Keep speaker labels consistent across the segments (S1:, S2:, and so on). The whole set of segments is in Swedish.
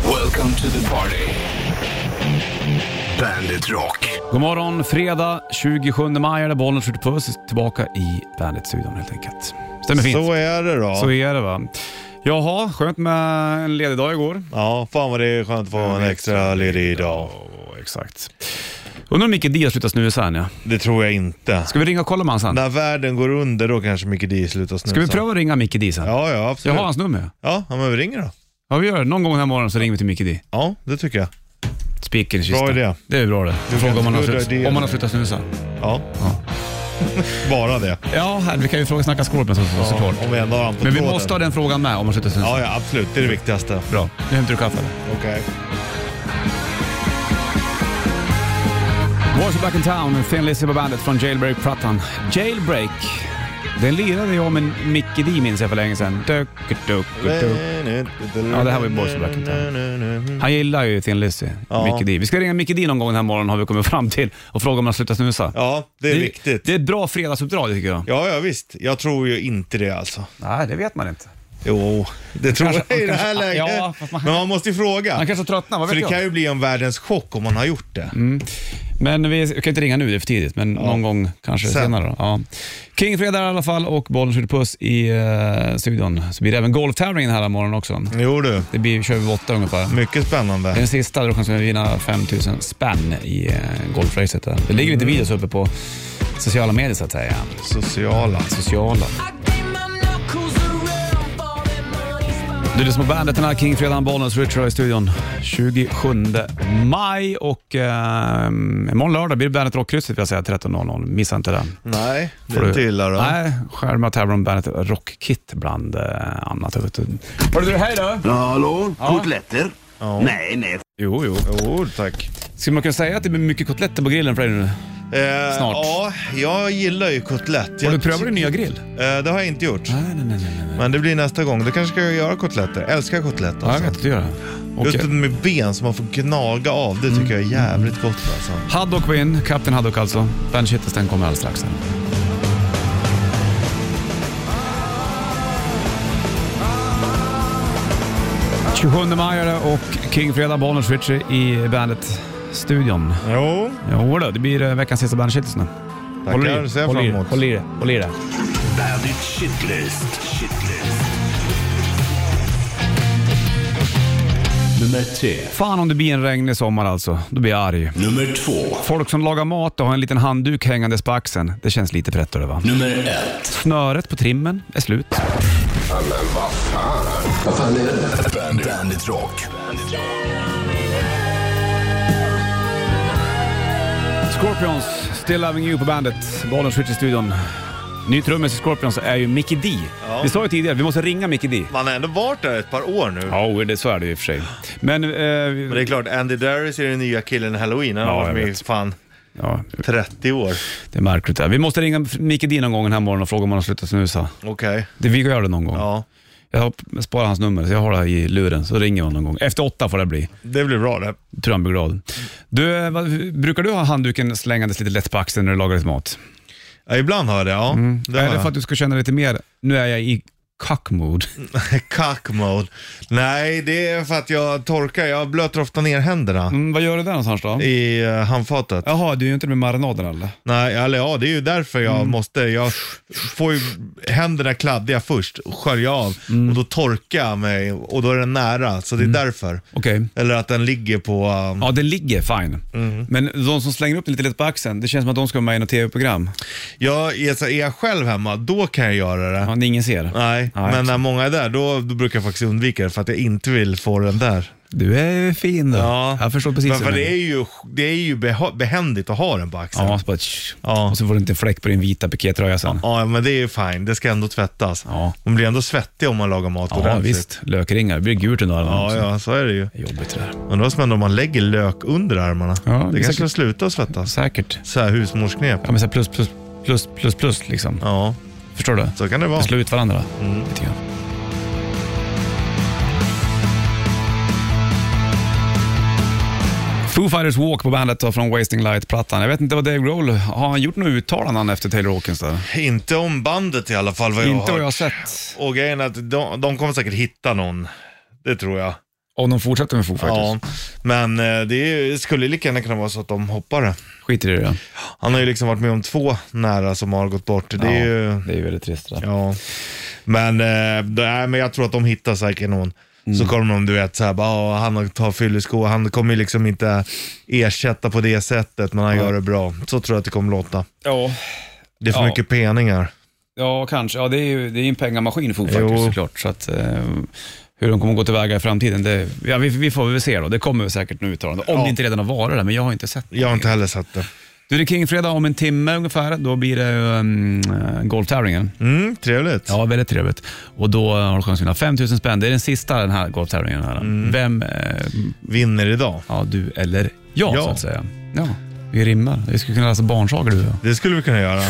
S1: Welcome to the party. Bandit Rock.
S2: God morgon, fredag 27 maj är det. Bollen skjuter puss. Tillbaka i Bandit-studion helt enkelt. Stämmer fint.
S3: Så är det då.
S2: Så är det va. Jaha, skönt med en ledig dag igår.
S3: Ja, fan vad det är skönt att få en extra ledig dag.
S2: Ja, exakt. Undrar om Micke D slutar snusa än ja.
S3: Det tror jag inte.
S2: Ska vi ringa och kolla med han sen?
S3: När världen går under då kanske Micke D slutar snusa.
S2: Ska vi pröva att ringa Micke D sen?
S3: Ja, ja absolut.
S2: Jag har hans nummer.
S3: Ja, ja, men vi ringer då.
S2: Ja, vi gör det. Någon gång den här morgonen så ringer vi till Micke D.
S3: Ja, det tycker jag.
S2: Spiken i kistan.
S3: Bra idé.
S2: Det är bra det.
S3: Du
S2: Fråga
S3: kan
S2: om han, har
S3: skudda
S2: slutat,
S3: idéer.
S2: om han har slutat snusa.
S3: Ja. Bara det.
S2: Ja, här, vi kan ju fråga Snacka Skorpen så, så, såklart.
S3: Om vi ändå har han på
S2: Men vi
S3: tråden.
S2: måste ha den frågan med om han slutar snusa.
S3: Ja, ja, absolut. Det är det viktigaste.
S2: Bra. Nu hämtar du kaffe.
S3: Okej.
S2: Boys are back in town, Thin Lizzy på bandet från Jailbreak-plattan. Jailbreak, den lirade jag med Micke D minns jag för länge sedan. Duk, duk, duk. Ja, det här var ju Boys Black in Han gillar ju Thin Lizzy,
S3: Ja.
S2: Micke D. Vi ska ringa Micke D någon gång den här morgonen har vi kommit fram till och fråga om han slutar snusa.
S3: Ja, det är viktigt.
S2: Det är ett bra fredagsuppdrag tycker jag.
S3: Ja, ja, visst. Jag tror ju inte det alltså.
S2: Nej, det vet man inte.
S3: Jo, det tror
S2: Kanske-
S3: jag i det här
S2: kanske-
S3: läget.
S2: ja, fast man-
S3: Men man måste ju fråga.
S2: Han kanske tröttnar, vad
S3: För
S2: vet
S3: det
S2: jag?
S3: kan ju bli en världens chock om man har gjort det. Mm.
S2: Men vi vi kan inte ringa nu, det är för tidigt. Men någon gång kanske
S3: Sen.
S2: senare. Då. Ja. King Fredag i alla fall och bollen skjuter puss i eh, studion. Så blir det även golftävlingen här morgonen också.
S3: Jo du,
S2: Det blir, kör vi vid åtta ungefär.
S3: mycket spännande.
S2: Den sista, då chansen att vinna 5000 spänn i eh, golfracet. Där. Det ligger lite videos uppe på sociala medier så att säga.
S3: Sociala.
S2: Sociala. Du lyssnar på bandet den här King Fredan Bollnäs, Richard i studion. 27 maj och eh, imorgon lördag blir det Bandet Rockkrysset vill jag säga 13.00. Missa inte det.
S3: Nej, det
S2: Får
S3: är
S2: du-
S3: inte illa då.
S2: Nej, skärmar tävlar om Bandet Rockkit bland eh, annat. vet du. Hörru du, hej då!
S4: Hallå? Kotletter? Nej, nej.
S2: Jo, jo.
S3: Jo tack.
S2: Skulle man kunna säga att det blir mycket kotletter på grillen för dig nu?
S3: Eh,
S2: Snart.
S3: Ja, jag gillar ju kotlett.
S2: Har
S3: Jag,
S2: du prövat din nya grill?
S3: eh, det har jag inte gjort.
S2: Nej, nej, nej. nej, nej.
S3: Men det blir nästa gång. Då kanske ska jag göra kotletter. Älskar kotlett
S2: Ja, jag
S3: alltså.
S2: vet att du gör det. Och,
S3: Just
S2: eh,
S3: det med ben som man får gnaga av, det tycker jag
S2: Mm.
S3: är jävligt gott alltså.
S2: Haddock var in, Kapten Haddock alltså. Bandage Hitters, den kommer alldeles strax. Här. Tjugosjundemajare och King Fredag, Bonniers Ritchie i Bandet-studion.
S3: Jo,
S2: Jo då, det blir eh, veckans sista Bandage Hitters nu.
S3: tackar. Ser jag
S2: håll
S3: fram
S2: i
S3: emot.
S2: Håll i det, håll i det.
S4: Bandit Shitlist. Shitlist. Nummer tre.
S2: Fan om det blir en regnig sommar alltså, då blir jag arg.
S4: Nummer två.
S2: Folk som lagar mat och har en liten handduk hängandes på axeln, det känns lite pretto det va?
S4: Nummer ett.
S2: Snöret på trimmen är slut.
S4: Bandit, Bandit Rock.
S2: Scorpions, Still Loving You på bandet. Bollen switch i studion. Ny trummis i Scorpions är ju Mickey D. Vi sa ju tidigare, vi måste ringa Mickey D.
S3: Man har ändå varit där ett par år nu.
S2: Ja, oh, det, så är det ju i och för sig. Men... eh,
S3: Men det är klart, Andy Darius är den nya killen i Halloween. Han
S2: Ja,
S3: har
S2: jag
S3: varit med i
S2: vet.
S3: fan
S2: ja,
S3: 30 år.
S2: det är märkligt det här. Vi måste ringa Mickey D någon gång den här morgonen och fråga om han har slutat snusa.
S3: Okej.
S2: Det, vi gör det någon gång.
S3: Ja,
S2: Jag har- sparar hans nummer, så jag har det här i luren. Så ringer jag någon gång. Efter åtta får det bli.
S3: det blir bra det.
S2: Tror han blir glad. Du, eh, vad, brukar du ha handduken slängandes lite lätt på axeln när du lagar ditt mat?
S3: Ja, ibland har jag det, ja. Det har
S2: Mm. Är det
S3: jag.
S2: för att du ska känna lite mer, nu är jag i cock-mood?
S3: Cock mode. Nej, det är för att jag torkar. Jag blöter ofta ner händerna
S2: Mm, vad gör du där någonstans då?
S3: i eh, handfatet.
S2: Jaha, du är ju inte med marinaden eller?
S3: Nej, eller ja, det är ju därför jag
S2: Mm.
S3: måste. Jag får ju händerna kladdiga först och skölja av
S2: Mm.
S3: och då torkar jag mig och då är den nära. Så det är därför.
S2: Okej.
S3: Eller att den ligger på... eh,
S2: Mm. Ja, den ligger fine.
S3: Mm.
S2: Men de som slänger upp den lite lätt på axeln, det känns som att de ska vara med i något tv-program.
S3: Jag, är, så- är jag själv hemma, då kan jag göra det.
S2: Ja, det ingen ser.
S3: Nej,
S2: Ja,
S3: men eh,
S2: exakt.
S3: när många är där, då, då brukar jag faktiskt undvika det för att jag inte vill få den där.
S2: Du är ju fin då. Jag förstår precis
S3: men,
S2: vad
S3: för
S2: du
S3: det
S2: menar.
S3: är ju, det är ju beha- behändigt att ha den på axeln.
S2: Ja,
S3: Ja.
S2: så bara, tsch.
S3: Ja.
S2: Och så får du inte en fläck på din vita pikétröja sen.
S3: men det är ju fine. Det ska ändå tvättas.
S2: Ja.
S3: Man blir ändå svettig om man lagar mat
S2: Ja,
S3: ordentligt.
S2: visst. Lökringar. Det blir gult under armarna
S3: Ja,
S2: också.
S3: ja, så är det ju.
S2: Jobbigt det där.
S3: Undrar vad som händer om man lägger lök under armarna.
S2: Ja, det är
S3: det kanske
S2: säkert-
S3: slutar svettas.
S2: Säkert.
S3: Så här husmorsknep.
S2: Ja, men så här plus, plus, plus, plus, plus liksom.
S3: Ja,
S2: Förstår du?
S3: så kan det vara.
S2: slå ut varandra lite grann. Foo Fighters Walk på bandet då, från Wasting Light-plattan. Jag vet inte vad Dave Grohl, har han gjort något uttalande han efter Taylor Hawkins där?
S3: Inte om bandet i alla fall vad jag
S2: inte vad
S3: har
S2: jag har
S3: hört.
S2: sett.
S3: Och grejen är att de, de kommer säkert hitta någon. Det tror jag.
S2: Om de fortsätter med Foo Fighters.
S3: Ja, men eh, det är- skulle lika gärna kunna vara så att de hoppar det.
S2: Skiter i det då.
S3: Han har ju liksom varit med om två nära som har gått bort. Det är ju...
S2: Det är ju väldigt trist det där.
S3: Ja, men, eh, det är, men jag tror att de hittar säkert någon.
S2: Mm.
S3: Så kommer de, du vet, så här, bara, "Ah, han tar fyllesko. Han kommer ju liksom inte ersätta på det sättet, men han gör det bra. Så tror jag att det kommer låta.
S2: Ja.
S3: Det är för
S2: Ja.
S3: mycket peningar.
S2: Ja, kanske. Ja, det är ju det är ju en pengamaskin Foo Fighters
S3: Jo.
S2: såklart. Så att, eh, hur de kommer gå tillväga i framtiden, det, ja, vi, vi får väl se då. Det kommer säkert nu uttalande. Om
S3: Ja.
S2: det inte redan har varit det, men jag har inte sett det.
S3: Jag har inte heller sett det.
S2: Du, det är Kingfredag om en timme ungefär. Då blir det um, golftävlingen.
S3: Mm, trevligt.
S2: Ja, väldigt trevligt. Och då har du chans att vinna 5 000 spänn. Det är den sista den här golftävlingen. Här.
S3: Mm.
S2: Vem, eh,
S3: Vinner idag.
S2: ja, du eller jag
S3: Ja.
S2: så att säga. Ja, vi rimmar. Vi skulle kunna läsa barnsagor du och jag.
S3: Det skulle vi kunna göra.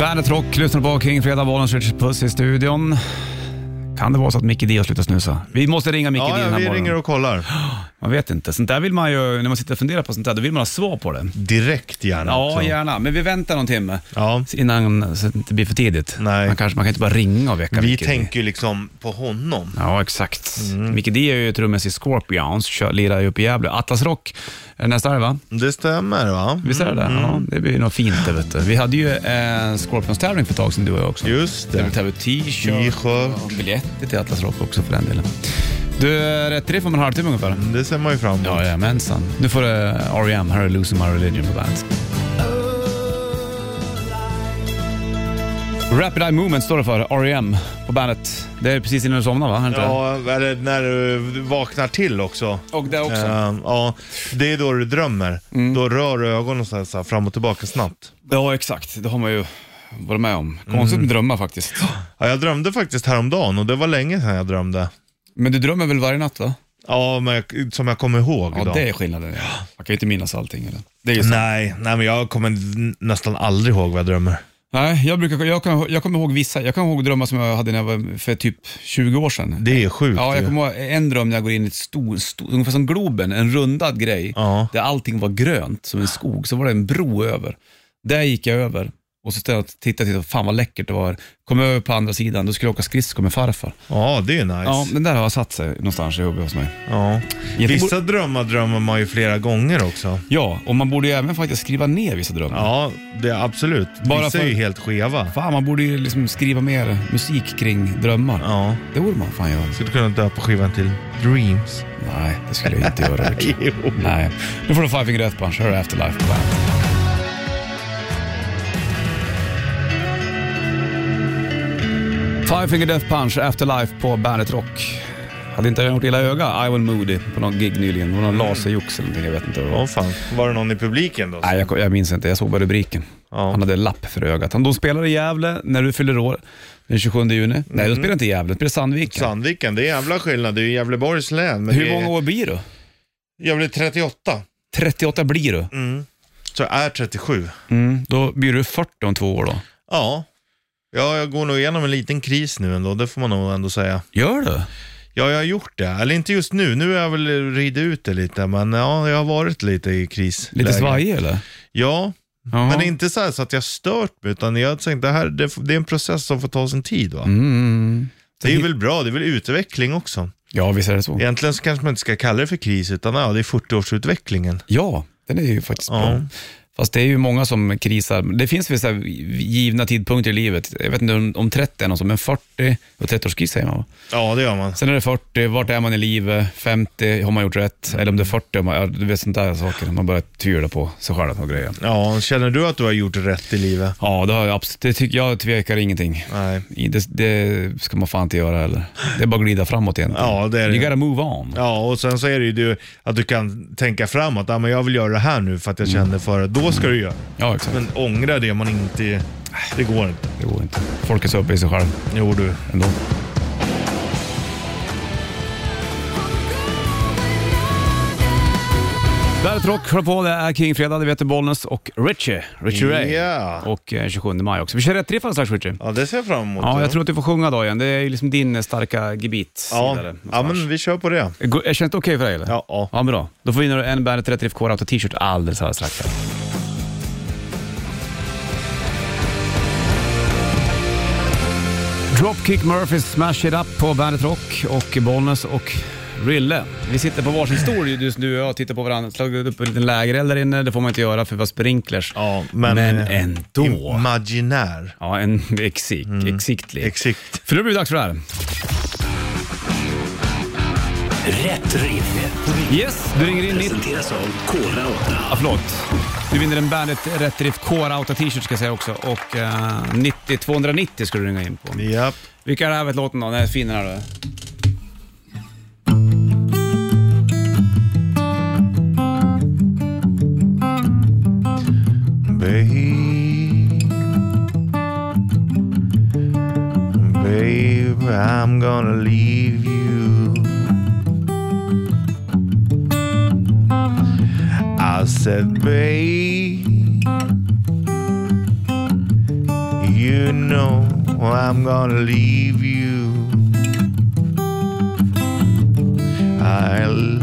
S2: Bandet Rock lyssnar på King Fredag, Bollens Richard Puss i studion. Kan det vara så att Micke D har slutat snusa? Vi måste ringa Micke D
S3: Ja,
S2: den
S3: ja,
S2: här
S3: vi
S2: morgonen.
S3: ringer och kollar.
S2: Man vet inte. Sånt där vill man ju, när man sitter och funderar på sånt där, då vill man ha svar på det.
S3: Direkt gärna
S2: Ja,
S3: också.
S2: gärna. Men vi väntar någon timme
S3: Ja.
S2: innan, så att det inte blir för tidigt.
S3: Nej.
S2: Man, kanske, man kan inte bara ringa och väcka
S3: Vi
S2: Micke D.
S3: tänker ju liksom på honom.
S2: Ja, exakt.
S3: Mm.
S2: Micke D är ju trummis i Scorpions, kör, lirar ju upp i Gävle. Atlas Rock är nästa helg va?
S3: Det stämmer va?
S2: Visst är det det?
S3: Mm.
S2: Ja, det blir något fint det vet du. Vi hade ju en Scorpions-tävling för ett tag sedan du och jag också.
S3: Just
S2: Där vi
S3: det.
S2: tar ut t-shirt
S3: T-shirt.
S2: och biljetter till Atlas Rock också för den delen. Du, rätt till det får man en halvtimme ungefär.
S3: Det ser man ju fram emot.
S2: Jajamensan. Nu får eh, du R.E.M. Här är Losing My Religion på bandet. Rapid Eye Movement står det för, R.E.M. på bandet. Det är precis innan du somnar va? Är det inte
S3: Ja, eller när du vaknar till också.
S2: det? Och det också. Mm.
S3: Eh, ja, det är då du drömmer. Då rör du ögonen så här, så här, fram och tillbaka snabbt.
S2: Ja, exakt. Det har man ju varit med om.
S3: Mm.
S2: Konstigt med drömmar faktiskt.
S3: Ja, jag drömde faktiskt häromdagen och det var länge sedan jag drömde.
S2: Men du drömmer väl varje natt va?
S3: Ja, men jag, som jag kommer ihåg
S2: Ja,
S3: då.
S2: det är skillnaden. Ja. Man kan ju inte minnas allting. Eller? Det är ju så.
S3: Nej, nej, men jag kommer n- nästan aldrig ihåg vad jag drömmer.
S2: Nej, jag, brukar, jag, kan, jag kommer ihåg vissa. Jag kommer ihåg drömmar som jag hade när jag var för typ 20 år sedan.
S3: Det är sjukt
S2: Ja, jag
S3: ju.
S2: kommer ihåg en dröm när jag går in i ett stort, stor, ungefär som Globen, en rundad grej,
S3: Ja.
S2: där allting var grönt som en skog. Så var det en bro över. Där gick jag över och så tittade jag tittade, tittade, fan vad läckert det var. Kom över på andra sidan, då skulle jag åka skridskor med farfar.
S3: ja, det är nice.
S2: Ja,
S3: Ja,
S2: den där har satt sig någonstans i huvudet hos mig.
S3: Vissa drömmar drömmer man ju flera gånger också.
S2: Ja, och man borde ju även faktiskt skriva ner vissa drömmar.
S3: Ja, det är absolut.
S2: Bara
S3: Vissa
S2: för-
S3: är ju helt skeva.
S2: Fan, man borde ju liksom skriva mer musik kring drömmar.
S3: Ja,
S2: Det borde man fan göra.
S3: skulle kunna döpa skivan till Dreams.
S2: Nej, det skulle jag inte göra. Richard.
S3: Jo.
S2: Nej. Nu får du Five Finger Death Punch. Här är Afterlife på bandet. Five Finger Death Punch, Afterlife på Bandet Rock. Hade inte jag gjort illa öga, Ivan Moody, på någon gig nyligen. Hon har laserjox eller någonting, jag vet inte vad det var.
S3: Ja, fan. Var det någon i publiken då?
S2: Nej, jag, jag minns inte. Jag såg bara rubriken.
S3: Ja.
S2: Han hade en lapp för ögat. Han, de spelar i Gävle när du fyller år, den 27 juni. Nej, de spelar inte i Gävle, de spelar i Sandviken.
S3: Sandviken, det är jävla skillnad. Det är ju Gävleborgs län. Men
S2: Hur
S3: det är...
S2: många år blir du?
S3: Jag blir 38,
S2: 38 blir du.
S3: så jag är 37.
S2: Mm. Då blir du 40 om två år då.
S3: Ja. ja, jag går nog igenom en liten kris nu ändå, det får man nog ändå säga.
S2: Gör du?
S3: Ja, jag har gjort det. Eller inte just nu, nu har jag väl ridit ut det lite, men ja, jag har varit lite i kris.
S2: Lite svajig eller?
S3: Ja,
S2: Jaha.
S3: men inte så, här så att jag stört mig, utan jag tänkte det här det, f- det är en process som får ta sin tid. Va?
S2: Mm.
S3: Det är väl bra, det är väl utveckling också.
S2: Ja, visst är det så. Ja.
S3: Egentligen så kanske man inte ska kalla det för kris, utan ja, det är 40-årsutvecklingen.
S2: den är ju faktiskt
S3: Ja.
S2: bra. Fast det är ju många som krisar. Det finns vissa givna tidpunkter i livet. Jag vet inte om, om 30 är någon som, men 40, och 30-årskris säger man va?
S3: Ja, det gör man.
S2: Sen är det 40, vart är man i livet? 50, har man gjort rätt? Eller om det är 40, om man, ja, du vet sånt där saker. Man börjar tvivla på sig själv och grejer.
S3: Ja, känner du att du har gjort rätt i livet?
S2: Ja, det har jag absolut. Det tycker jag tvekar ingenting.
S3: Nej.
S2: I- Det, det ska man fan inte göra heller. Det är bara att glida framåt igen.
S3: Ja, det är det.
S2: You gotta move on.
S3: Ja, och sen så är det ju du, att du kan tänka framåt. Ja, men jag vill göra det här nu för att jag känner för det. Då ska du göra det.
S2: Ja, exakt.
S3: Men ångra det man inte... Det går inte.
S2: Det går inte. Folk är så uppe i sig själv
S3: Jo du.
S2: ändå. Bandet Rock hör på, det är King Fredag, det vet Bollnäs och Richie. Richie Ray.
S3: Ja.
S2: Och eh, 27 maj också. Vi kör rätt riff alldeles strax Richie.
S3: Ja, det ser jag fram emot.
S2: Ja, jag tror att du får sjunga idag igen. Det är ju liksom din eh, starka gebit.
S3: Ja, ja men vi kör på det.
S2: Går- Känns det okej för dig eller?
S3: Ja, ja.
S2: Ja, bra. Då får vinner du en Bandet Rätt Riff Core Auto t-shirt alldeles, alldeles strax. här. Dropkick Murphys Smash It Up på Bandet Rock och Bollnäs och Rille. Vi sitter på varsin stol ju, just nu och jag tittar på varandra. Slagit upp en liten lägereld där inne, det får man inte göra för vi har sprinklers.
S3: Ja, men,
S2: Men
S3: eh,
S2: ändå.
S3: Imaginär.
S2: Ja, en exik,
S3: Mm.
S2: exiktlig.
S3: Exakt.
S2: för nu blir det dags för det här.
S4: Rätt riff.
S2: Yes, du ringer in 90...
S4: Presenteras av Kora 8.
S2: Ja, förlåt. Du vinner en Bandet Rätt Drift Core Auta t-shirt ska jag säga också och eh, 90 290 ska du ringa in på.
S3: Japp.
S2: Vilka är det här för låten då? Den är fin den här då.
S3: Babe, babe, I'm gonna leave you. I said, babe, you know I'm gonna leave you. I'll,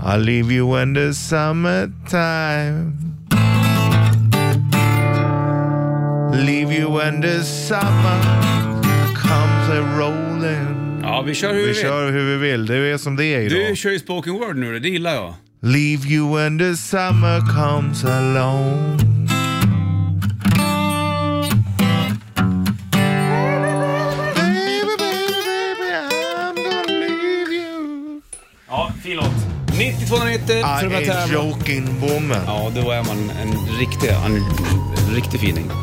S3: I'll leave you when the summertime. Leave you when the summer comes a rolling.
S2: Ja, vi kör hur vi,
S3: Vi
S2: vill.
S3: kör hur vi vill, det är som det är
S2: Du
S3: idag.
S2: kör ju spoken word nu, det gillar jag.
S3: Leave you when the summer comes along. Baby, baby, baby, I'm gonna leave you.
S2: Ja, fin låt. 90 290 för att
S3: I
S2: tävla.
S3: ain't joking woman.
S2: Ja, då är man en riktig, en, en riktig feeling.
S3: Mm.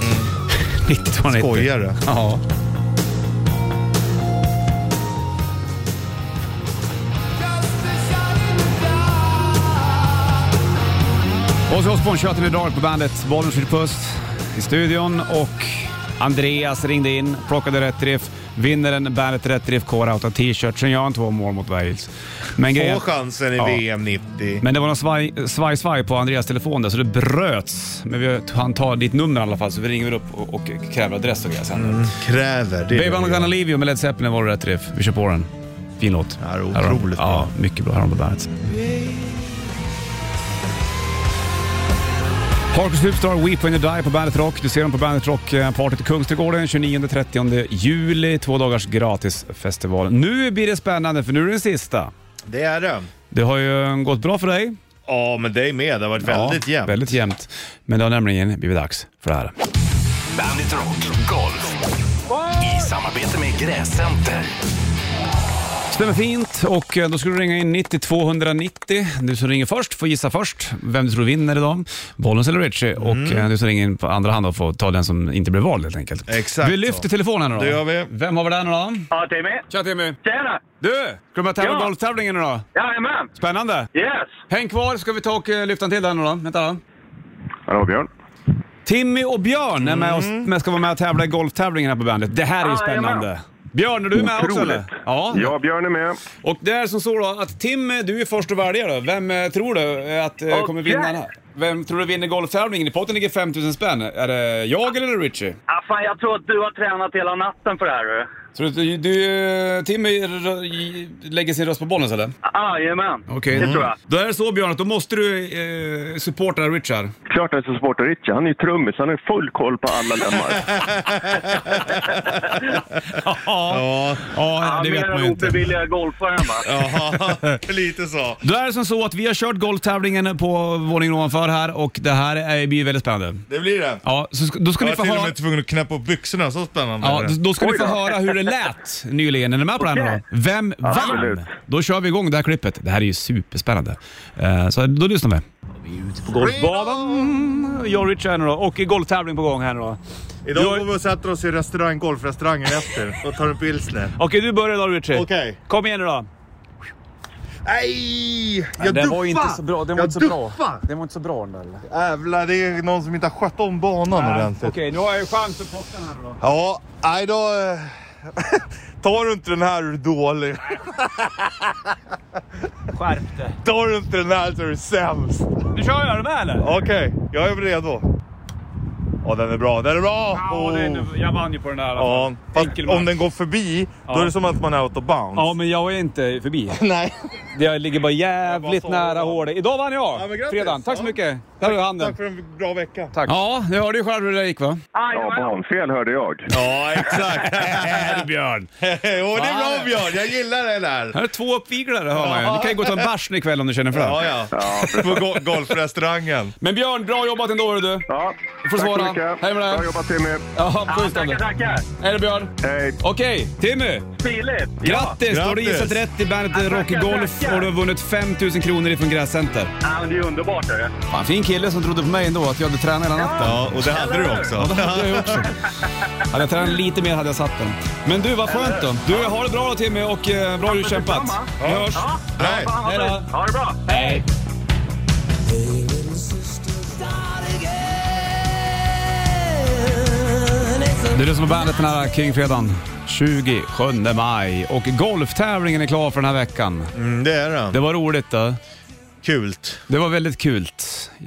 S2: 90 290.
S3: Skojare.
S2: Ja. Ozzy Osbourne, Shut in the Dark på bandet. Bollen skjuter puss i studion och Andreas ringde in, plockade rätt riff, vinner en Bandet Rätt Riff Core Outa t-shirt. Sen gör han två mål mot Wales. Men
S3: Få
S2: grejen,
S3: chansen i
S2: Ja.
S3: VM 90.
S2: men det var någon svaj- svaj-svaj på Andreas telefon där, så det bröts. Men vi, han tar ditt nummer i alla fall, så vi ringer upp och, och kräver adress och grejer sen.
S3: Kräver det.
S2: Mm. Baby I'm gonna leave you med Led Zeppelin var det rätt riff. Vi kör på den. Fin låt.
S3: Ja, det är
S2: Här har de-
S3: otroligt bra.
S2: Ja, mycket bra. Här har de på bandet. Harkus Superstar, Weep When You Die på Bandet Rock. Du ser dem på Bandet Rock eh, Party i Kungsträdgården 29-30 juli. Två dagars gratisfestival. Nu blir det spännande för nu är det den sista.
S3: Det är det.
S2: Det har ju gått bra för dig.
S3: Ja, men dig med. Det har varit väldigt
S2: ja,
S3: jämnt.
S2: Väldigt jämnt. Men det har nämligen blivit dags för det här.
S4: Bandit Rock Golf. I samarbete med Gräscenter.
S2: Stämmer fint och eh, då ska du ringa in 90 290. Du som ringer först får gissa först vem du tror vinner idag. Bollens eller Richie. Och eh, du som ringer in på andra hand då får ta den som inte blev vald helt enkelt.
S3: Exakt
S2: Vi
S3: så.
S2: lyfter telefonen idag.
S3: Det gör vi.
S2: Vem har vi där nu då?
S1: Ja, Timmy.
S2: Tja Timmy!
S1: Tjena!
S2: Du! Ska du med tävla
S1: Ja.
S2: golftävlingen idag?
S1: Jajamän!
S2: Spännande!
S1: Yes!
S2: Häng kvar ska vi ta och eh, lyfta en till där nu då. Vänta då.
S5: Hallå Björn.
S2: Timmy och Björn är med oss, men ska vara med och tävla i golftävlingen här på bandet. Det här är ju
S1: Ah, jajamän.
S2: spännande. Björn, är du med också
S5: Otroligt.
S2: eller? Ja.
S5: Ja, Björn är med.
S2: Och det är som så då att Tim, du är först att välja då. Vem eh, tror du eh, att eh, kommer
S1: Okej.
S2: vinna den här? Vem tror du vinner golftävlingen? I potten ligger 5000 spänn. Är det jag eller är det Richie?
S1: Ah, fan, jag tror att du har tränat hela natten för det här. du.
S2: Tror du, du eh, Tim är- r- lägger sin röst på bollen eller?
S1: Ah, Jajamän!
S2: Okej.
S1: Det tror jag.
S2: Då är det så Björn att då måste du eh, supporta Richard.
S5: Klart att jag supportar Richie. Han är ju trummis. Han har ju full koll på alla lemmar.
S2: Ja, ja,
S1: Ah,
S2: det vet
S1: mer
S2: man ju
S1: än
S2: inte.
S1: ofrivilliga golfaren va?
S3: Ja, lite så.
S2: Då är det som så att vi har kört golftävlingen på våningen ovanför här och det här är, blir väldigt spännande.
S3: Det blir det.
S2: Ja, så ska, då ska ni
S3: Jag
S2: få
S3: var till och
S2: höra...
S3: med tvungen att knäppa upp byxorna, så spännande
S2: Ja,
S3: var det.
S2: då ska ni
S5: Oj
S2: få
S5: då.
S2: höra hur det lät nyligen. Är ni med på det här nu då?
S1: Okej.
S2: Vem
S5: Absolut.
S2: vann? Då kör vi igång det här klippet. Det här är ju superspännande. Eh, Så då lyssnar vi. Vi är ute på golfbanan. Jag och Richard här nu då. Och golftävling på gång här nu då.
S3: Idag
S2: Jag-
S3: går vi och sätter oss i restaurang, golfrestaurangen efter och tar en pilsner.
S2: Okej, du börjar då Richard.
S3: Okej.
S2: Kom igen nu då.
S3: Nej! Jag
S2: Den
S3: duffade!
S2: var ju inte så bra. Den var
S3: jag
S2: inte så bra.
S3: duffade!
S2: Den var inte så bra den där.
S3: Jävlar, det är någon som inte har skött om banan
S2: Okej,
S3: ordentligt.
S2: nu har jag ju chans att plocka den här nu då.
S3: Ja, nej då... eh, Tar du inte den här är du dålig.
S2: Skärp dig.
S3: Tar du inte den här så är du sämst.
S2: Nu kör jag. Är du med eller?
S3: Okej, jag är redo. Ja, den är bra. Den är bra! Oh.
S2: Ja, det är nu- jag vann ju på den där. i alla
S3: Ja,
S2: fall.
S3: fast
S2: Enkel
S3: om
S2: match.
S3: den går förbi, då
S2: Ja.
S3: är det som att man är out of bounds.
S2: Ja, men jag är inte förbi.
S3: Nej.
S2: Jag ligger bara jävligt
S3: Jag bara sa
S2: nära
S3: det.
S2: hålet. Idag vann jag!
S3: Ja, men grattis.
S2: Fredagen. Tack så
S3: Ja.
S2: mycket! Där har du handen.
S3: Tack för en bra vecka.
S2: Ja, du hörde ju själv hur det gick va?
S5: Ja,
S1: Ah, Jajamän.
S5: barnfel hörde jag.
S3: Ja, exakt.
S2: Här Björn!
S3: Åh, det är bra Björn. Jag gillar det där.
S2: Här är två uppviglare hör man ju. Du kan ju gå och ta en bärs ikväll om du känner för det.
S3: Ja, ja. På go- golfrestaurangen.
S2: Men Björn, bra jobbat ändå hörru du.
S5: Ja,
S2: Du får
S5: tack så
S2: svara.
S5: mycket.
S2: Hej med dig.
S5: Bra jobbat Timmy.
S2: Ja,
S1: Ja,
S2: puss
S1: tackar,
S2: Tommy.
S1: Ah, tackar.
S2: Hej då Björn.
S5: Hej.
S2: Okej, Timmy!
S1: Stiligt. Ja.
S2: Grattis! Då har du
S3: Grattis.
S2: gissat rätt i bandet
S1: Tackar,
S2: Rocky Golf
S1: tackar.
S2: och du har vunnit 5 000 kronor ifrån Gräscenter.
S1: Ja, Ah, men det är ju underbart. Är det?
S2: Fan, fin kille som trodde på mig ändå, att jag hade tränat hela natten.
S3: Ja, och det hade du också.
S2: Det hade jag ju också. Hade jag tränat lite mer hade jag satt den. Men du, vad skönt då. Du, ha det bra då Timmy och eh, bra du kämpat.
S1: detsamma.
S2: Vi hörs.
S1: Ja, bra,
S3: Hej.
S1: fan,
S2: Hej då.
S1: Ha det bra.
S2: Hej! Du lyssnar på bandet den här Kingfredagen 27 maj och golftävlingen är klar för den här veckan.
S3: Mm, det är det.
S2: Det var roligt då.
S3: Kult.
S2: Det var väldigt kul.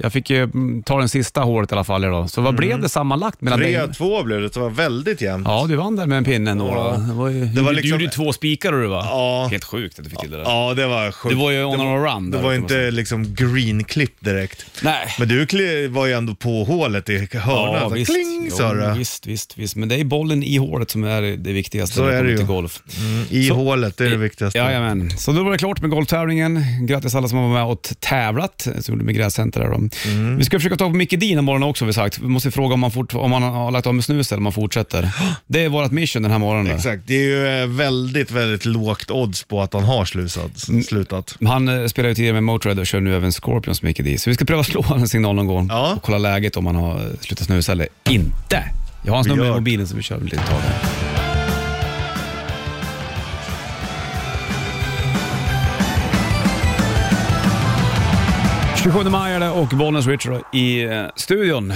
S2: Jag fick ju mm, ta den sista hålet i alla fall idag. Så vad
S3: Mm.
S2: blev det sammanlagt mellan dig?
S3: 3-2 blev det. Det var väldigt jämnt.
S2: Ja, du vann där med en pinne ändå.
S3: Ja.
S2: då. Det var ju,
S3: var
S2: du,
S3: liksom-
S2: gjorde ju två spikar du va?
S3: Ja.
S2: Helt sjukt att du fick till det där.
S3: Ja, det var sjukt.
S2: Det var ju on
S3: Det var-
S2: a run.
S3: Det
S2: där,
S3: var
S2: kan man säga.
S3: inte liksom green clip direkt.
S2: Nej.
S3: Men du kli- var ju ändå på hålet i hörnan. så Kling
S2: Jo,
S3: sa du.
S2: visst, visst, visst. Men det är bollen i hålet som är det viktigaste
S3: Så
S2: när
S3: är det
S2: kommer
S3: ju.
S2: till golf.
S3: Mm, I hålet, det är det viktigaste.
S2: Jajamän. Så då var det klart med golftävlingen. Grattis alla som var med och tävlat. Så gjorde vi med Gräscenter där då. Vi ska försöka ta på Micke Dean imorgon också har vi sagt. Vi måste fråga om han, fort, om han har lagt av med snus eller om han fortsätter. Det är vårt mission den här morgonen. Exakt.
S3: Exakt. Det är ju eh, väldigt, väldigt lågt odds på att han har slutat. slutat.
S2: Han eh, spelade ju tidigare med Motörhead och kör nu även Scorpions Micke Dean. Så vi ska pröva slå honom en signal någon gång
S3: Ja.
S2: och kolla läget om han har eh, slutat snusa eller inte. Jag har hans
S3: Vi
S2: nummer i
S3: gör.
S2: mobilen så vi kör lite tag här. Majare och Bollnäs Richard i eh, studion.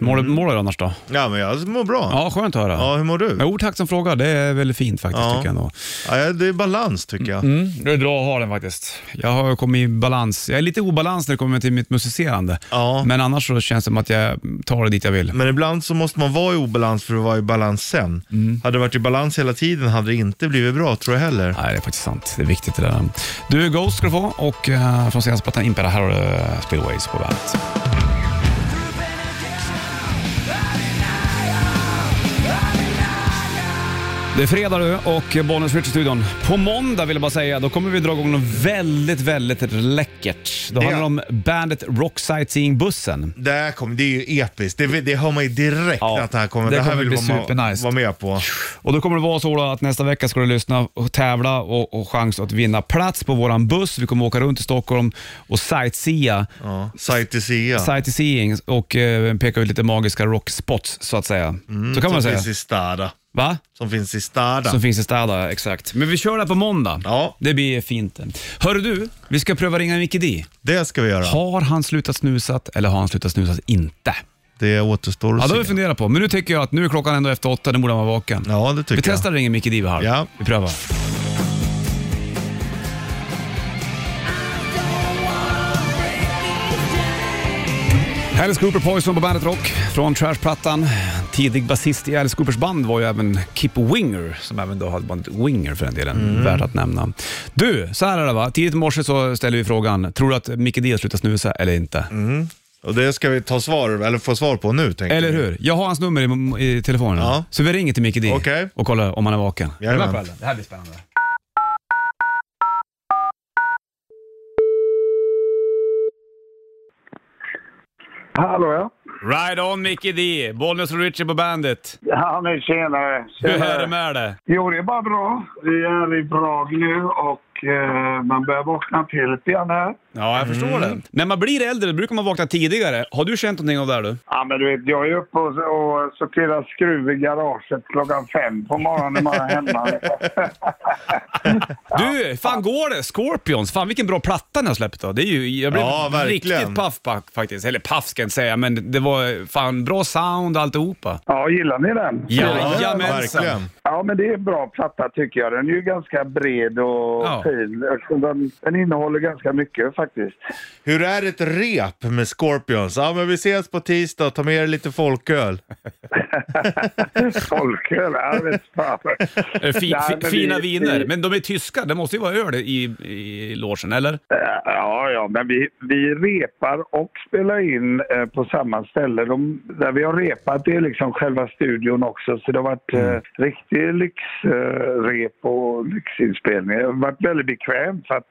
S2: Mår du mår du annars då?
S3: Mm. Ja, men jag mår bra.
S2: Ja, skönt att höra.
S3: Ja, hur mår du?
S2: Jo, tack som frågar. Det är väldigt fint faktiskt
S3: Ja.
S2: tycker jag ändå.
S3: Ja, jag- det är balans tycker jag.
S2: Det är bra att ha den faktiskt. Jag har kommit i balans. Jag är lite i obalans när det kommer till mitt musicerande.
S3: Ja.
S2: Men annars så känns det som att jag tar det dit jag vill.
S3: Men ibland så måste man vara i obalans för att vara i balans sen.
S2: Mm.
S3: Hade det varit i balans hela tiden hade det inte blivit bra tror jag heller.
S2: Nej, det är faktiskt sant. Det är viktigt det där. Du, Ghost ska du få och eh, från senaste plattan Impera. Här har du eh, Spillways på bandet. Det är fredag nu och Bollnäs Rich i studion. På måndag vill jag bara säga, då kommer vi dra igång något väldigt, väldigt läckert. Då
S3: Det-
S2: handlar det om bandet Rock Sightseeing-bussen.
S3: Det här kommer, det är ju episkt. Det, det hör man ju direkt
S2: Ja,
S3: att det här kommer.
S2: det
S3: Det, här
S2: kommer
S3: vill
S2: bli
S3: man
S2: supernice.
S3: vara med på.
S2: Och då kommer det vara så då att nästa vecka ska du lyssna och tävla och, och chans att vinna plats på våran buss. Vi kommer åka runt i Stockholm och sightsea,
S3: Ja. Sight to see ja.
S2: sightseeing och eh, peka ut lite magiska rockspots så att säga. så kan man
S3: Som
S2: säga.
S3: Mm, finns i Stada.
S2: Va?
S3: Som finns i Stada.
S2: Som finns i Städa, exakt. Men vi kör det här på måndag.
S3: Ja.
S2: Det blir fint. Hör du, vi ska pröva ringa Micke D.
S3: Det ska vi göra.
S2: Har han slutat snusat eller har han slutat snusat inte?
S3: Det återstår
S2: Ja,
S3: att
S2: det har vi
S3: se.
S2: funderat på. Men nu tycker jag att nu är klockan ändå efter åtta, nu borde han vara vaken.
S3: Ja, det tycker
S2: Vi
S3: jag.
S2: testar ringer Micke Diva här.
S3: Ja.
S2: Vi prövar. Alice Cooper Poison på bandet Rock från Trash-plattan. Tidig basist i Alice Coopers band var ju även Kip Winger, som även då hade bandet Winger för den delen.
S3: Mm.
S2: Värt att nämna. Du, så här är det va. Tidigt i morse så ställer vi frågan, tror du att Micke D har slutat snusa eller inte?
S3: Och det ska vi ta svar, eller få svar på nu tänker
S2: Eller
S3: jag.
S2: hur? Jag har hans nummer i, i telefonen.
S3: Ja.
S2: Så vi ringer till Micke D
S3: Okej.
S2: och kollar om han är vaken. Är du med
S3: Jajamän.
S2: på elden? Det här blir spännande.
S6: Hallå ja.
S2: Ride on Micke D, Bollnäs och Richie på bandet.
S6: Ja men tjenare.
S2: Hur
S6: Tjenare.
S2: är det med dig?
S6: Jo det är bara bra. Vi är i Prag nu och eh, man börjar vakna till lite grann här.
S2: Ja, jag förstår
S3: Mm.
S2: det. När man blir äldre brukar man vakna tidigare. Har du känt någonting av det här du?
S6: Ja men du vet jag är uppe och, och sorterar skruv i garaget klockan fem på morgonen när man är hemma.
S2: Du, fan går det? Scorpions, fan vilken bra platta ni har släppt då. Det är ju, jag blev
S3: Ja, verkligen.
S2: riktigt paff pa- faktiskt. Eller paff ska jag inte säga, men det var fan bra sound och alltihopa.
S6: ja gillar ni den?
S2: Jajamensan.
S3: Verkligen.
S6: Ja men det är en bra platta tycker jag. Den är ju ganska bred och
S2: Ja.
S6: fin. Den, den innehåller ganska mycket faktiskt.
S3: Hur är ett rep med Scorpions? Ja, men vi ses på tisdag. Ta med er lite folköl.
S6: Folköl, ja visst fan.
S2: Eh, Fi,
S6: Nej,
S2: fi,
S6: men
S2: fina
S6: vi-
S2: viner.
S6: vi-
S2: Men de är tyska, det måste ju vara öl i, i logen, eller?
S6: Eh, Ja, ja, men vi, vi repar och spelar in eh, på samma ställe. De, där vi har repat det är liksom själva studion också. Så det har varit eh, riktig lyxrep eh, och lyxinspelning. Det har varit väldigt bekvämt. För att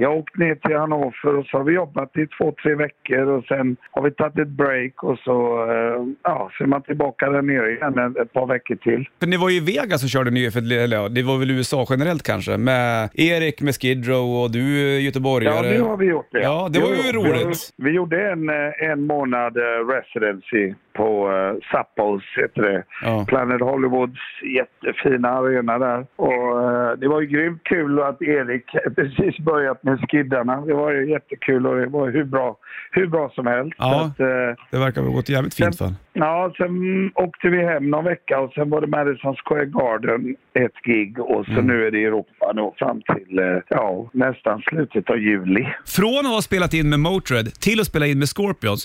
S6: jag har åkt ner till Hannover och så har vi jobbat i två, tre veckor och sen har vi tagit ett break och så, eh, ja, så är man tillbaka där nere igen en- ett par veckor till.
S2: För ni var ju i Vegas och körde nyligen, för- eller ja, det var väl USA generellt kanske, med Erik med Skid Row och du eh,
S6: Ja,
S2: göteborgare.
S6: nu har vi gjort det.
S2: Ja, det var ju
S6: Jo,
S2: roligt.
S6: Vi, vi gjorde en, eh, en månad eh, residency på eh, Supples, heter det.
S2: Ja.
S6: Planet Hollywoods jättefina arena där. Och, eh, det var ju grymt kul att Erik precis börjat med skiddarna. Det var ju jättekul och det var hur bra, hur bra som helst.
S2: Ja.
S6: Så att, eh,
S2: Det verkar ha gått jävligt fint för
S6: Ja, sen åkte vi hem någon vecka och sen var det Madison Square Garden ett gig och så
S2: Mm.
S6: nu är det Europa då fram till eh, ja, nästan slutet av juli.
S2: Från att ha spelat in med Motörhead till att spela in med Scorpions,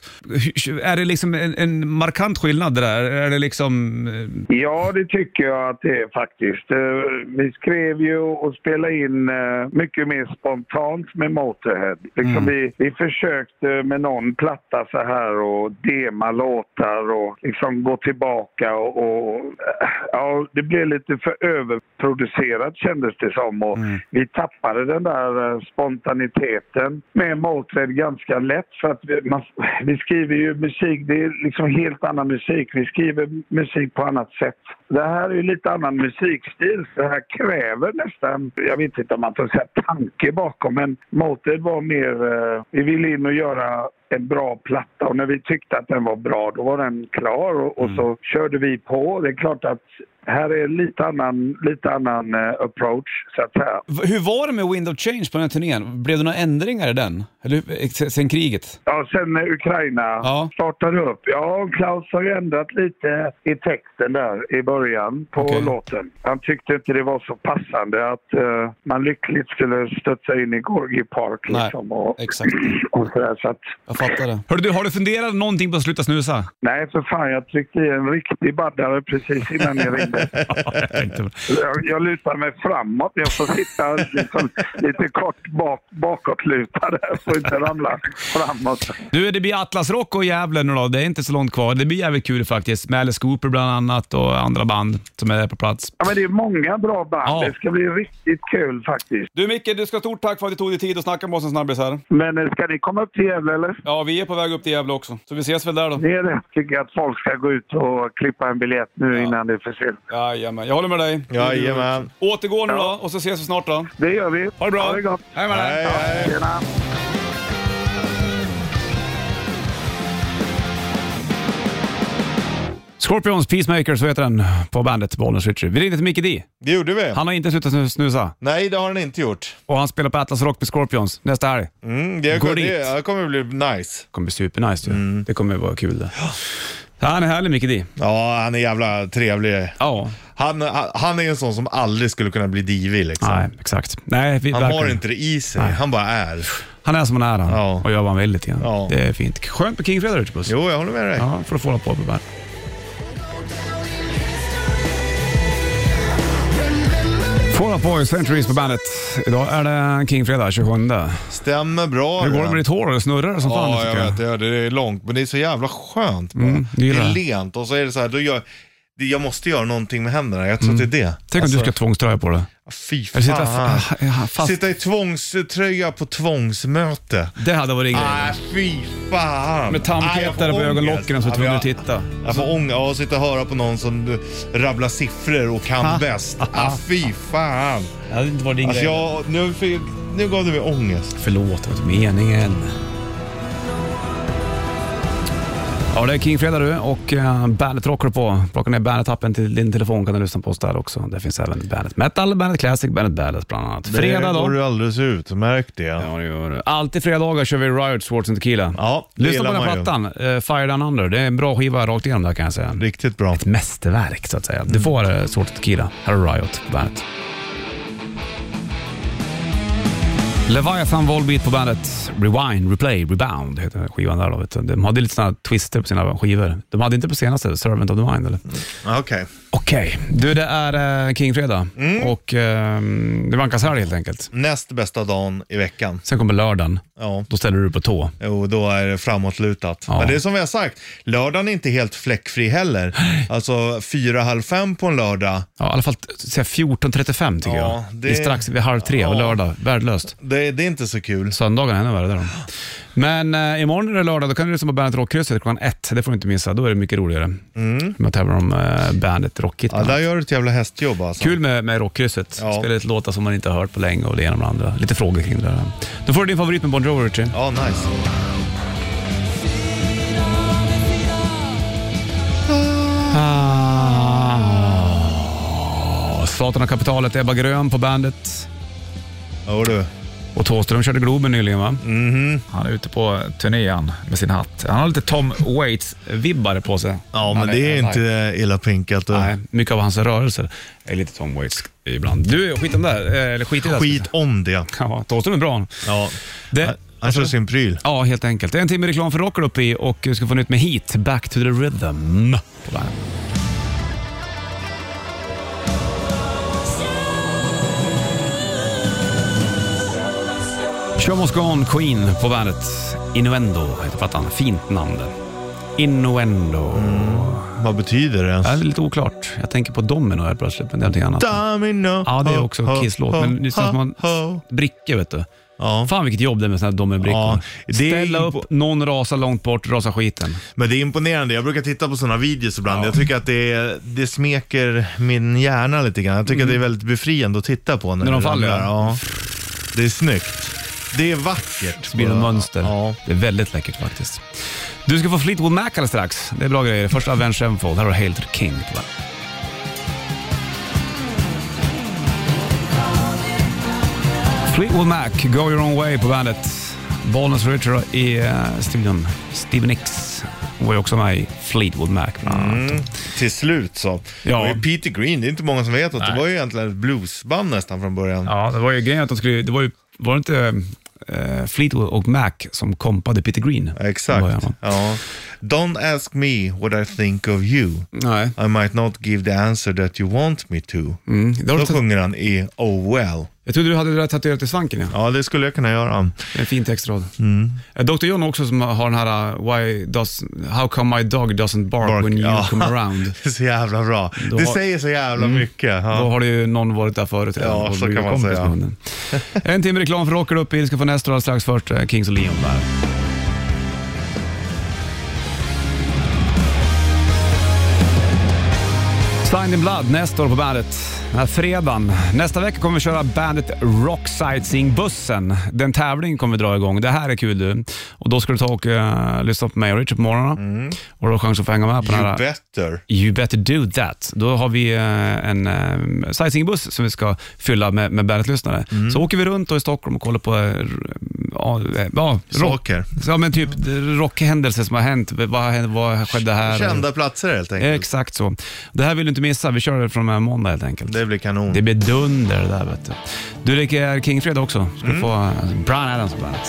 S2: hur- är det liksom en, en markant skillnad det där? Är det liksom... eh,
S6: Ja, det tycker jag att det är faktiskt. Eh, Vi skrev ju och spelade in eh, mycket mer spontant med Motorhead. Liksom vi, vi försökte med någon platta så här och dema låtar och liksom gå tillbaka och, och eh, ja, det blev lite för överproducerat kändes det som och vi tappade den där eh, spontaniteten med Motörhead ganska lätt för att vi, man, vi skriver ju musik, det är liksom helt annan musik. Vi skriver musik på annat sätt. Det här är ju lite annan musikstil så det här kräver nästan, jag vet inte om man får säga tanke bakom men Motörhead var mer, eh, vi ville in och göra en bra platta och när vi tyckte att den var bra då var den klar och, och så körde vi på. Det är klart att här är lite annan, lite annan eh, approach så att säga.
S2: V- Hur var det med Wind of Change på den här turnén? Blev det några ändringar i den? Eller hur- eh, sen kriget?
S6: Ja, sen när Ukraina
S2: Ja.
S6: startade upp. Ja, Klaus har ju ändrat lite i texten där i början på
S2: Okej.
S6: låten. Han tyckte inte det var så passande att eh, man lyckligt skulle studsa in i Gorgie Park
S2: Nej,
S6: liksom. och,
S2: exakt.
S6: och sådär, så att,
S2: Jag fattar det. Hörru du, har du funderat någonting på att sluta snusa?
S6: nej, för fan, jag tryckte i en riktig baddare precis innan ni ringde.
S2: jag tänkte väl.
S6: Jag, jag lutar mig framåt. Jag får sitta liksom, lite kort bak, bakåtlutad. Jag får inte ramla framåt.
S2: Du, det blir Atlasrock och Gävle nu då. Det är inte så långt kvar. Det blir jävligt kul faktiskt. Med Alice Cooper bland annat och andra band som är på plats.
S6: Ja, men det är många bra band.
S2: Ja.
S6: Det ska bli riktigt kul faktiskt.
S2: Du Micke, du ska ha stort tack för att du tog dig tid att snacka med oss en snabbis här.
S6: Men eh, ska ni komma upp till Gävle eller?
S2: Ja, vi är på väg upp till Gävle också. Så vi ses väl där då.
S6: Det är det. Tycker jag att folk ska gå ut och klippa en biljett nu innan det är för sent.
S2: Jajamän, jag håller med dig.
S3: Jajamän.
S2: Återgår nu då och så ses vi snart då.
S6: Det gör vi.
S2: Ha det bra.
S6: Ha det gott.
S2: Hej med dig.
S3: Hej, hej.
S6: Tjena.
S2: Scorpions Peacemaker, så heter den på bandet, Bollnäs Ritchie. Vi ringde till Micke D.
S3: Det gjorde vi.
S2: Han har inte slutat snus- snusa
S3: Nej, det har han inte gjort.
S2: och han spelar på Atlas Rock med Scorpions nästa helg.
S3: Mm, det,
S2: Gå
S3: det,
S2: dit.
S3: det kommer bli nice.
S2: Det kommer bli supernice ju.
S3: Mm.
S2: Det kommer vara kul det. Han är härlig Micke D.
S3: Ja, han är jävla trevlig.
S2: Ja,
S3: Han, han, han är en sån som aldrig skulle kunna bli divig liksom.
S2: nej exakt. Nej, vi,
S3: Han
S2: verkligen.
S3: har inte det i sig, han bara är.
S2: han är som han är han
S3: Ja.
S2: och gör vad han vill lite grann.
S3: Ja.
S2: Det är fint. Skönt med King Fredag Ritchie
S3: Jo, jag håller med dig.
S2: Ja, får du få hålla på med band. Fall Out Boys, Centuries på bandet. Idag är det King-fredag, 27.
S3: Stämmer bra.
S2: Hur går det
S3: det.
S2: med ditt hår? Det snurrar som fan.
S3: Ja,
S2: tycker
S3: jag vet. Det, det är långt, men det är så jävla skönt bara.
S2: Mm, det
S3: det,
S2: gillar
S3: är
S2: jag.
S3: lent och så är det så här, då gör, det, jag måste göra någonting med händerna. Jag tror att det är det.
S2: Mm. Tänk om du ska ha tvångströja på dig.
S3: Fy fan.
S2: Eller sitta fa- ja, fast.
S3: sitta i tvångströja på tvångsmöte.
S2: Det hade varit en grej.
S3: Nej, fy fan.
S2: Med
S3: Nej, jag får
S2: tandpetare på
S3: ångest.
S2: ögonlocken så
S3: Ja,
S2: tror du
S3: jag-
S2: titta.
S3: Jag får ångest av att sitta och höra på någon som eh, rabblar siffror och kan bäst. Ah, fy fan.
S2: Det hade inte varit din
S3: Alltså jag, nu, fick, nu gav du mig ångest.
S2: Förlåt, det var inte meningen. Ja, det är King-fredag du och uh, Bandet rockar du på. Plocka ner Bandet-appen till din telefon kan du lyssna på oss där också. Där finns även Bandet Metal, Bandet Classic, Bandet Ballad bland annat. Fredag då.
S3: du alldeles utmärkt det. Ja,
S2: Ja, det gör du. Alltid fredagar kör vi Riot, Swords and Tequila.
S3: ja det
S2: Lyssna på
S3: gillar
S2: den
S3: man ju.
S2: plattan, eh, Fire Down Under. Det är en bra skiva rakt igenom där kan jag säga.
S3: Riktigt bra.
S2: Ett mästerverk så att säga. Du får
S3: Mm.
S2: eh, Swords and Tequila. Här är Riot på Bandet. Leviathan Volbeat på bandet. Rewind, Replay, Rebound heter skivan där då. Vet du. De hade lite sådana twister på sina skivor. De hade inte på senaste, Servant of the Mind eller?
S3: Okej.
S2: Okej, du det är eh, Kingfredag
S3: Mm.
S2: och eh, det vankas helg helt enkelt.
S3: Näst bästa dagen i veckan.
S2: Sen kommer lördagen.
S3: Ja.
S2: Då ställer du dig på tå.
S3: Jo, då är det framåtlutat.
S2: Ja.
S3: Men det är som vi har sagt, lördagen är inte helt fläckfri heller. Alltså fyra, halv fem på en lördag.
S2: Ja, I alla fall t- säga 14.35 tycker
S3: Ja,
S2: jag.
S3: det-
S2: Det är strax vid halv tre och
S3: Ja.
S2: lördag. Värdelöst.
S3: Det, det är inte så kul.
S2: Söndagarna är ännu värre. Där då. Men eh, imorgon är det lördag, då kan du lyssna på Bandet Rockkrysset klockan ett. Det får du inte missa. Då är det mycket roligare. Mm. Man tävlar om eh, Bandet Rockigt.
S3: Ja, där gör du ett jävla hästjobb alltså.
S2: Kul med, med Rockkrysset.
S3: Ja.
S2: Spelar lite låtar som man inte har hört på länge och det ena med det andra. Lite frågor kring det där. Då får du din favorit med Bon Jovi, Richie.
S3: Ja, nice.
S2: Ah. Satan och kapitalet, Ebba Grön på bandet.
S3: Jo du.
S2: Och Thåström körde Globen nyligen va?
S3: Mhm.
S7: Han är ute på turnén med sin hatt. Han har lite Tom Waits-vibbar på sig.
S3: Ja, men
S2: Nej,
S3: det är
S2: nej.
S3: inte illa pinkat. och-
S2: Nej, mycket av hans rörelser är lite Tom Waits ibland. Du, skit om det här. eh, Eller skit i det. här, ska jag
S3: Skit om det.
S2: säga. Ja, Thåström är bra.
S3: Ja.
S2: Det,
S3: Han kör sin pryl.
S2: ja, helt enkelt. Det är en timme reklam för Rocker uppe i och vi ska få nytt med Heat, Back to the Rhythm. på Bandet. Show must go on, Queen på bandet. Innuendo heter plattan. Fint namn det. Innuendo.
S3: Mm. Vad betyder det ens?
S2: Ja, det är lite oklart. Jag tänker på domino här plötsligt, men det är någonting annat.
S3: Domino.
S2: Ja, det är också
S3: ho,
S2: en Kiss-låt,
S3: ho,
S2: men det känns som man-
S3: ho, ho.
S2: Brickor, vet du.
S3: Ja.
S2: Fan vilket jobb det är med sådana här dominobrickor.
S3: Ja, det är
S2: Ställa
S3: impo-
S2: upp, någon rasar långt bort, rasar skiten.
S3: Men det är imponerande. Jag brukar titta på sådana videos ibland. Jag tycker att det, är- det smeker min hjärna lite grann. Jag tycker att det är väldigt befriande att titta på. När,
S2: Mm. När de
S3: det
S2: faller,
S3: ramlar.
S2: ja.
S3: ja. Det är snyggt. Det är vackert.
S2: Det blir ett mönster.
S3: Ja.
S2: Det är väldigt läckert faktiskt. Du ska få Fleetwood Mac alldeles strax. Det är bra grejer. Först Avenged Sevenfold. Här har du Hail to the King. på bandet. Fleetwood Mac, Go Your Own Way på bandet. Bollnäs Richard i eh, studion. Steven Nicks var ju också med i Fleetwood Mac bland annat.
S3: Till slut så.
S2: Mm. Ja.
S3: Det var ju Peter Green, det är inte många som vet att det
S2: Nej.
S3: var ju egentligen ett bluesband nästan från början.
S2: Ja, det var ju grejen att de skulle... Det var ju... Var det inte eh, Fleetwood och Mac som kompade Peter Green?
S3: Exakt.
S2: Från början, va?
S3: Ja. Don't ask me what I think of you.
S2: Nej.
S3: I might not give the answer that you want me to.
S2: Mm. Det har
S3: Då
S2: du
S3: sjunger han i Oh well.
S2: jag trodde du hade det där tatuerat i svanken. Ja.
S3: Ja, det skulle jag kunna göra.
S2: En fin textrad.
S3: Mm.
S2: Eh, Dr. John också som har den här uh, Why does, How come my dog doesn't bark,
S3: Bark,
S2: when you
S3: ja.
S2: come around?
S3: Det är så jävla bra.
S2: Då
S3: det
S2: har-
S3: säger så jävla mycket.
S2: Då
S3: Ja.
S2: har det ju någon varit där förut redan
S3: Ja,
S2: och
S3: så
S2: blivit
S3: kan man
S2: kompis
S3: säga.
S2: med hunden. En timme reklam för Rocker upp i. Vi ska få nästa alldeles strax. Först eh, Kings och Leon där. Signed in Blood, Nestor på bandet. Den här fredagen. Nästa vecka kommer vi köra bandet Rock Sightseeing-bussen. Den tävlingen kommer vi dra igång. Det här är kul du. Och då ska du ta och eh, lyssna på mig och Richard på morgonen.
S3: Mm.
S2: Och då har du chans att få hänga med på den
S3: You
S2: här
S3: better.
S2: You better do that. Då har vi eh, en eh, sightseeingbuss som vi ska fylla med, med Bandet-lyssnare. Så åker vi runt då i Stockholm och kollar på eh, r- ja, eh, ja, rock,
S3: Saker.
S2: ja, men typ rockhändelser som har hänt. Vad, har hänt- vad skedde här?
S3: Kända platser helt enkelt.
S2: Exakt så. Det här vill du inte missa. Vi kör det från eh, måndag helt enkelt.
S3: Det blir kanon.
S2: Det blir dunder det där vet du. Du, det är Kingfredag också. Ska
S3: Mm.
S2: du få eh, Brian Adams på bandet.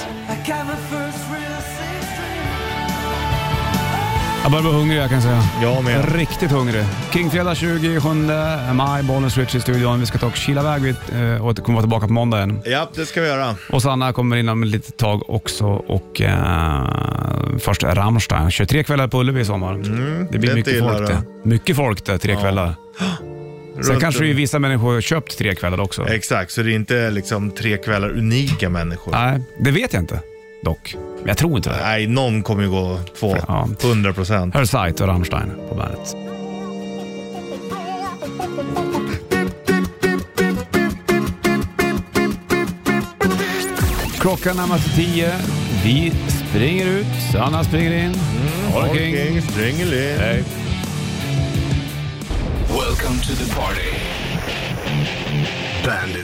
S2: Jag börjar bli hungrig jag kan säga.
S3: Jag
S2: Jag är
S3: med.
S2: Riktigt hungrig. Kingfredag 27 maj, Bollnäs Rich i studion. Vi ska ta och kila iväg vid, eh, och kommer vara tillbaka på måndag igen.
S3: Ja, det ska vi göra.
S2: Och Sanna kommer in om ett litet tag också och eh, först Rammstein. 23 kvällar på Ullevi i sommar. det blir
S3: Mm, det
S2: mycket
S3: gillar
S2: folk
S3: jag.
S2: det. Mycket folk det, tre kvällar. Sen
S3: Runt
S2: kanske
S3: om.
S2: ju vissa människor har köpt tre kvällar också.
S3: Exakt, så det är inte liksom tre kvällar unika människor.
S2: Nej, det vet jag inte dock. Men jag tror inte det.
S3: Nej, någon kommer ju gå två.
S2: Ja.
S3: 100 procent.
S2: Här Sight och Rammstein på bandet. Klockan närmar sig tio. Vi springer ut, Sanna springer in.
S3: Mm.
S2: Ha det kring.
S3: Stringeling.
S2: Hej.
S4: Welcome to the party. Bandit